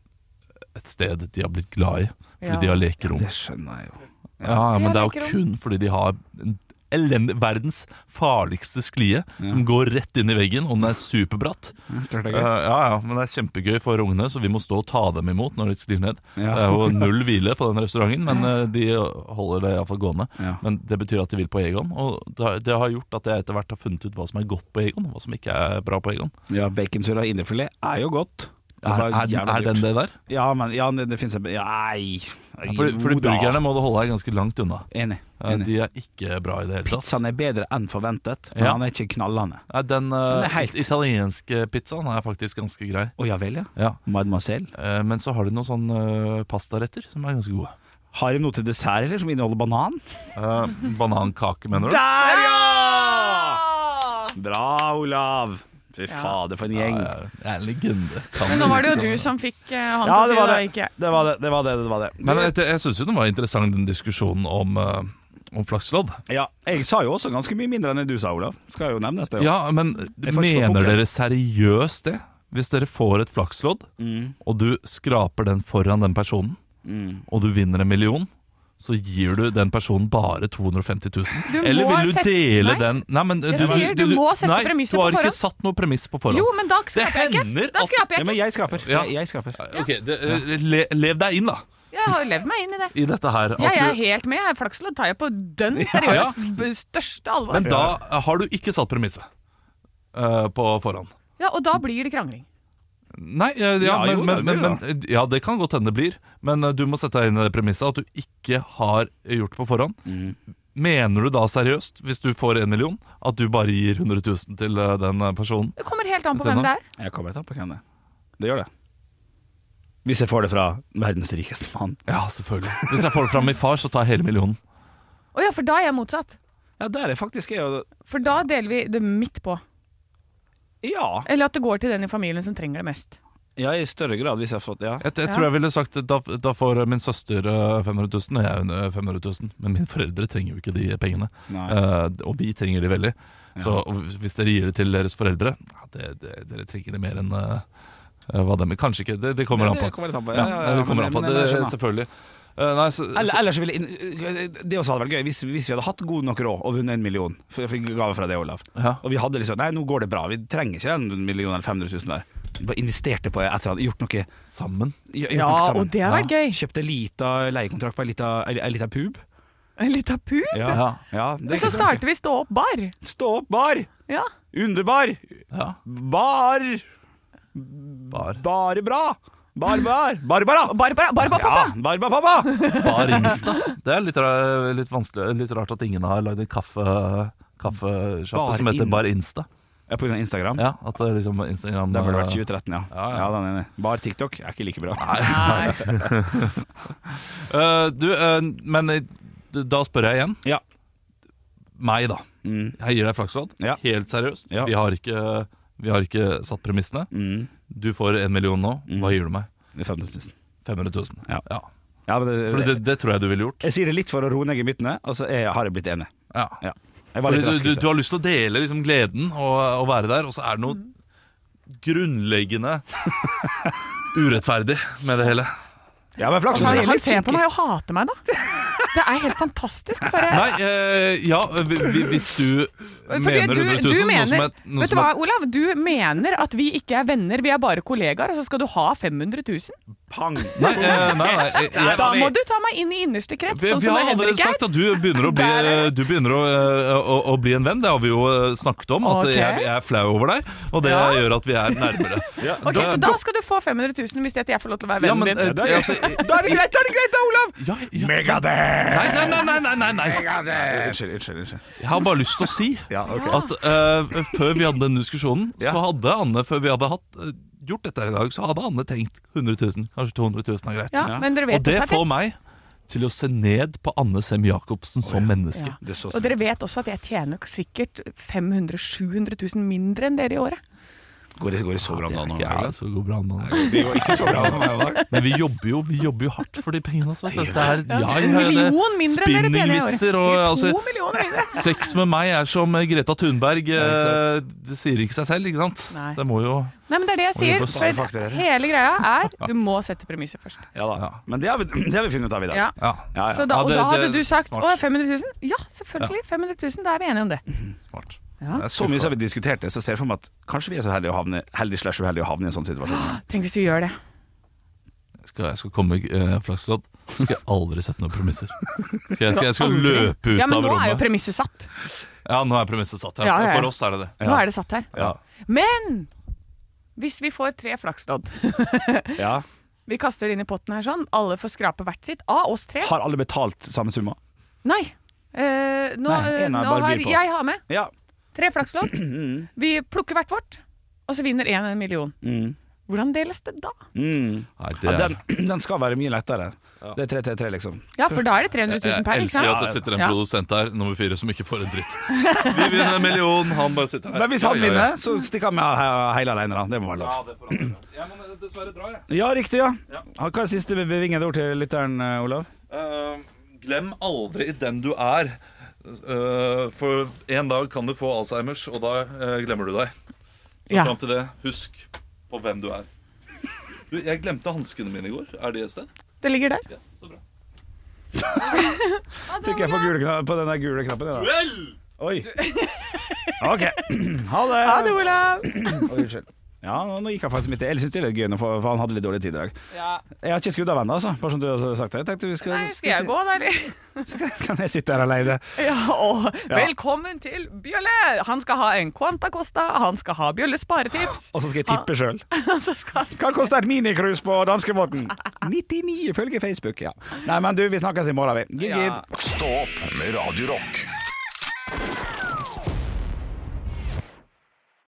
D: et sted de har blitt glad i. Fordi
K: Ja.
D: de har lekerom.
B: Det skjønner jeg jo.
D: Ja, ja,
K: De
D: men
K: har
D: det er jo
K: lekerom.
D: kun fordi de har en elendig, verdens farligste sklie som går rett inn i veggen, og den er superbratt.
B: Klart det
D: Eh,
B: er gøy.
D: ja, ja, men det er kjempegøy for ungene, så vi må stå og ta dem imot når de sklir ned.
B: Ja.
D: Det er jo null hvile på den restauranten, men eh, de holder det iallfall gående.
B: Ja.
D: Men det betyr at de vil på Egon, og det har- det har gjort at jeg etter hvert har funnet ut hva som er godt på Egon, og hva som ikke er bra på Egon.
B: Ja, Baconsurra innefilet er jo godt. Det
D: Er,
B: bare
D: er,
B: jævla
D: er den
B: dyrt.
D: det der?
B: Ja, men ja, det, det finnes en ja, Nei.
D: Ja, Fordi, fordi
B: Jo da.
D: burgerne må du holde deg ganske langt unna.
B: Enig.
D: Eh,
B: enig.
D: De er ikke bra i det hele tatt.
B: Pizzaen er bedre enn forventet, men
D: Ja.
B: han er ikke knallende.
D: Nei, den
B: Den er
D: eh,
B: helt-
D: italienske pizzaen er faktisk ganske grei.
B: Å ja vel, ja.
D: Ja.
B: Mademoiselle.
D: Eh, Men så har de noen sånne eh, pastaretter som er ganske gode.
B: Har de noe til dessert eller som inneholder banan?
D: Eh, banankake, mener du?
B: Der, ja! Bra, Olav. Fy fader, for en gjeng.
D: Ja, jeg er en legende. Kan
K: Men nå var det jo
D: ikke.
K: du som fikk eh, han til å
B: Ja, det
K: si det,
B: var
K: da,
B: det.
K: ikke jeg.
B: Det var det. det, var det, det, var det.
D: Men eh, jeg, jeg syns jo den var interessant, den diskusjonen om, eh, om flakslodd.
B: Ja, jeg sa jo også ganske mye mindre enn det du sa, Olav. Skal jo nevnes, det. jo.
D: Ja, men
B: Jeg får ikke på
D: mener
B: poker.
D: dere seriøst det? Hvis dere får et flakslodd, og du skraper den foran den personen, og du vinner en million, så gir du den personen bare 250 000?
K: Du
D: Eller
K: må
D: vil du
K: sette-
D: dele
K: Nei.
D: den Nei, men
K: Jeg sier du må sette
D: nei,
K: premisset
D: Du
K: på
D: har ikke
K: forhånd.
D: satt noe premiss på forhånd.
K: Jo, men da
D: det
K: skraper jeg ikke.
D: hender
K: Da
D: at
K: skraper
B: Ja,
K: jeg
B: men
K: ikke.
B: jeg skraper.
D: Ja.
B: Jeg, jeg skraper.
D: Ok, det, le, Lev deg inn, da,
K: Jeg har jo levd meg inn i det.
D: i dette her. at
K: Jeg er
D: du-
K: helt med. jeg. Flakslodd tar jeg på dønn
D: ja.
K: seriøst. b- Største alvor.
D: men da har du ikke satt premisset eh, på forhånd.
K: Ja, Og da blir det krangling.
D: Nei, eh, ja,
B: Ja,
D: men,
B: jo,
D: men,
B: det
D: men,
B: blir
D: men eh, Ja, det kan godt hende det blir. Men eh, du må sette deg inn i det premisset at du ikke har gjort det på forhånd.
B: Mhm.
D: Mener du da seriøst, hvis du får en million, at du bare gir 100 000 til eh, den eh, personen?
K: Det kommer helt an på
D: Se
K: hvem
D: nå.
K: det er.
B: Jeg kommer til å ta på hvem det er. Det gjør det. Hvis jeg får det fra verdens rikeste mann.
D: Ja, selvfølgelig. Hvis jeg får det fra min far, så tar jeg hele millionen.
K: Å ja, for da er jeg motsatt.
B: Ja, der er faktisk jeg jo
K: For da deler vi det midt på.
B: Ja.
K: Eller at det går til den i familien som trenger det mest.
B: Ja, i større grad hvis jeg har fått Ja.
D: Jeg, jeg
K: Ja.
D: tror jeg ville sagt eh, da, da får min søster eh, 500 000 og jeg eh, 500 000. Men mine foreldre trenger jo ikke de pengene.
B: Nei.
D: Eh, og vi trenger de veldig. Så og hvis dere gir det til deres foreldre ja, det, det, Dere trenger det mer enn eh, eh, hva dem Kanskje ikke. Det, det kommer
B: Ja,
D: an på.
B: det kommer litt an på.
D: Ja,
B: Ja, ja, ja,
D: det kommer
B: men-
D: an på.
B: men
D: Det,
B: jeg skjønner.
D: selvfølgelig. Eh, nei, så,
B: Eller, ellers ville inn- Det også hadde vært gøy hvis, hvis vi hadde hatt god nok råd og vunnet en million. For jeg fikk gave fra det, Olav.
D: Ja.
B: Og vi hadde liksom Nei, nå går det bra. Vi trenger ikke den millionen eller 500 000 der. Vi Bare investerte på et eller annet. Gjort noe,
D: så, sammen.
B: gjort
K: Ja,
B: noe sammen.
K: og det har vært gøy.
B: Kjøpte en lita leiekontrakt på ei lita, ei- ei lita pub.
K: En lita pub.
B: Ja. Ja, det-
K: Men så starter vi Stå opp bar.
B: Stå opp, bar!
K: Ja.
B: Underbar!
D: Ja,
B: Bar!
D: bar.
B: Bare bra! Barbar! Barbara!
K: Og Barbara, Barbara
B: Ja,
K: pappa!
B: Barbara pappa!
D: Bar Insta. Det er litt, ra- litt vanskelig Litt rart at ingen har lagd en kaffe
B: Bar
D: kaffesjappe som heter
B: In-
D: Bar Insta.
B: Ja, på grunn av Instagram.
D: Ja, at det liksom Instagram
B: Der burde det vært
D: eh,
B: 2013, ja. Ja,
D: Ja, ja.
B: den ene. Bar TikTok er ikke like bra.
D: Eh, du, eh, men eh, d- da spør jeg igjen.
B: Ja.
D: Meg, da.
B: Mm.
D: Jeg gir deg flakslodd.
B: Ja.
D: Helt seriøst.
B: Ja.
D: Vi, har ikke, vi har ikke satt premissene.
B: Mm.
D: Du får en million nå. Hva gir du meg?
B: Det er 500 000.
D: 500 000.
B: Mm. Ja.
D: Ja.
B: Ja, men
D: For
B: det,
D: det, det tror jeg du ville gjort.
B: jeg sier det litt for å roe ned gemyttene, og så er, har jeg blitt enig.
D: Ja.
B: Ja. Jeg var
D: Fordi
B: litt
D: du,
B: rask
D: du,
B: i
D: du
B: sted.
D: har lyst til å dele liksom, gleden og, og være der, og så er det noe grunnleggende urettferdig med det hele.
B: Ja, men flaks.
K: Altså, han,
B: det er
K: han
B: litt
K: ser på
B: kinky.
K: meg og hater meg, da. Det er helt fantastisk. Bare.
D: Nei, eh, ja, vi- vi- hvis du
K: Fordi
D: mener
K: du,
D: 100 000
K: du
D: noe som
K: mener,
D: er, noe
K: vet du
D: som
K: hva,
D: er
K: Olav? Du mener at vi ikke er venner, vi er bare kollegaer, og så skal du ha 500 000?
B: Pang!
D: Nei, eh, nei, nei, jeg- jeg-
K: Da må du ta meg inn i innerste krets,
D: Vi,
K: sånn
D: vi
K: som
D: har
K: det
D: allerede
K: Henrik
D: sagt
K: er.
D: at du begynner å bli,
K: Der er
D: du begynner å, eh, å, å bli en venn. Det har vi jo eh, snakket om, at
K: Ok.
D: jeg, jeg er flau over deg. Og det
K: Ja.
D: gjør at vi er nærmere. ja,
K: Ok, Så da skal du få 500 000 hvis det at jeg får lov til å være vennen
D: men,
K: din.
D: eh,
B: Da er
D: altså,
B: det- da er det greit, da er det greit da, Olav!
D: ja, ja.
B: Megadeth!
D: Nei, nei, nei, nei, nei, nei, nei.
B: Unnskyld, unnskyld. unnskyld.
D: Jeg har bare lyst til å si
B: Ja, ok.
D: at eh, før vi hadde den diskusjonen,
B: Ja.
D: så hadde Anne Før vi hadde hatt, eh, gjort dette her i dag, så hadde Anne tenkt 100 000, kanskje 200 000 er greit.
K: Ja, men dere
D: Og
K: vet
D: det
K: også at
D: får
K: jeg,
D: meg til å se ned på Anne Sem-Jacobsen som menneske.
K: Ja. og dere vet også at jeg tjener sikkert 500 000-700 000 mindre enn dere i året.
B: Går det, går det så bra om dagen?
D: Ja,
B: Harald?
D: så god brann, da.
B: Det går ikke så bra med meg i dag.
D: Men vi jobber jo, vi jobber jo hardt for de pengene også. vet du. Det er, ja,
C: En
D: ja, det-
C: million mindre enn dere tjener i år.
D: Spinningvitser og
C: Sikkert
D: altså,
C: to millioner mindre.
D: Sex med meg er som Greta Thunberg.
B: Ja,
D: eh, det sier ikke seg selv, ikke sant?
C: Nei.
D: Det må jo
C: Nei, men det er det jeg
D: vi
C: sier.
D: får
B: bare
C: For
B: fakturere.
C: hele greia er du må sette premisset først.
B: Ja da. Men det har, vi, det har vi funnet ut av i dag.
C: Ja.
D: Ja,
B: Ja, ja.
C: Så da,
D: Ja,
C: og
D: det-
C: da hadde
D: det-
C: du sagt
D: smart.
C: å, 500 000? Ja, selvfølgelig. 500 000, da er vi enige om det.
D: smart.
C: Ja.
D: Jeg er
B: Så mye
D: skuffet.
B: som vi diskuterte, så ser jeg for meg at kanskje vi er så heldige å havne, heldige slash uheldige å havne i en sånn situasjon.
C: Tenk hvis du gjør det.
D: skal, jeg skal komme med eh, flakslodd. Så skal jeg aldri sette noen premisser. Skal jeg, skal jeg skal
C: aldri.
D: løpe ut
C: Ja, men
D: av
C: nå er jo
D: rommet.
C: premisset satt.
D: Ja, nå er premisset satt. Ja.
C: Ja, ja, ja.
D: For oss er det det.
C: Nå er det satt her.
D: Ja.
C: Men hvis vi får tre flakslodd
B: Ja.
C: Vi kaster det inn i potten her sånn. Alle får skrape hvert sitt. Av oss tre.
B: Har alle betalt samme summa?
C: Nei. Eh, nå,
B: Nei, en av
C: nå
B: bare
C: har
B: byr på.
C: jeg har med
B: Ja.
C: tre flakslodd. Vi plukker hvert vårt, og så vinner én en million.
B: Mm.
C: Hvordan deles det da?
B: Mm.
D: Nei, det
B: ja
D: er,
B: den, den skal være mye lettere. Det er 333, liksom.
C: Ja, for da er det 300 000 per, ikke
D: jeg elsker
C: sant?
D: at det sitter en
C: Ja.
D: produsent der, nummer fire, som ikke får en dritt. Vi vinner en million, han bare sitter her.
B: Men hvis han
D: Ja, ja, ja.
B: vinner, så stikker han med he- hele alene, da. Det må være lov.
D: Jeg må eh, dessverre dra, jeg.
B: Ja, riktig, ja. Hva er det siste bevingede ord til lytteren, eh, Olav?
D: Eh, glem aldri den du er. Eh, for en dag kan du få Alzheimers, og da eh, glemmer du deg. Så
C: Ja.
D: fram til det, husk på hvem du er. Du, jeg glemte hanskene mine i går. Er de et sted?
C: Det ligger der.
D: Ja, så bra.
B: Trykker jeg på, gule, kna- på den der gule knappen? jeg, Da.
D: Vel!
B: Oi. OK. Ha det.
C: Ha det, Olav.
B: Oi, unnskyld. Ja, nå- nå gikk han faktisk midt i. Eller syns det er litt gøy, nå, for for han hadde litt dårlig tid i dag.
C: Ja.
B: Jeg har ikke skrudd av ennå, altså. Bare som du har sagt det. Jeg tenkte vi skal,
C: Nei, skal jeg gå, da, eller?
B: Kan jeg sitte her alene?
C: Ja, og velkommen til Bjølle! Han skal ha en Quanta Costa, han skal ha Bjølles sparetips.
B: Og så skal jeg tippe sjøl.
C: Og så skal
B: Hva koster et minicruise på danskebåten? 99 ifølge Facebook, ja. Nei, men du, vi snakkes i morgen, vi. Gid, gid.
A: Stå opp med Radio Rock.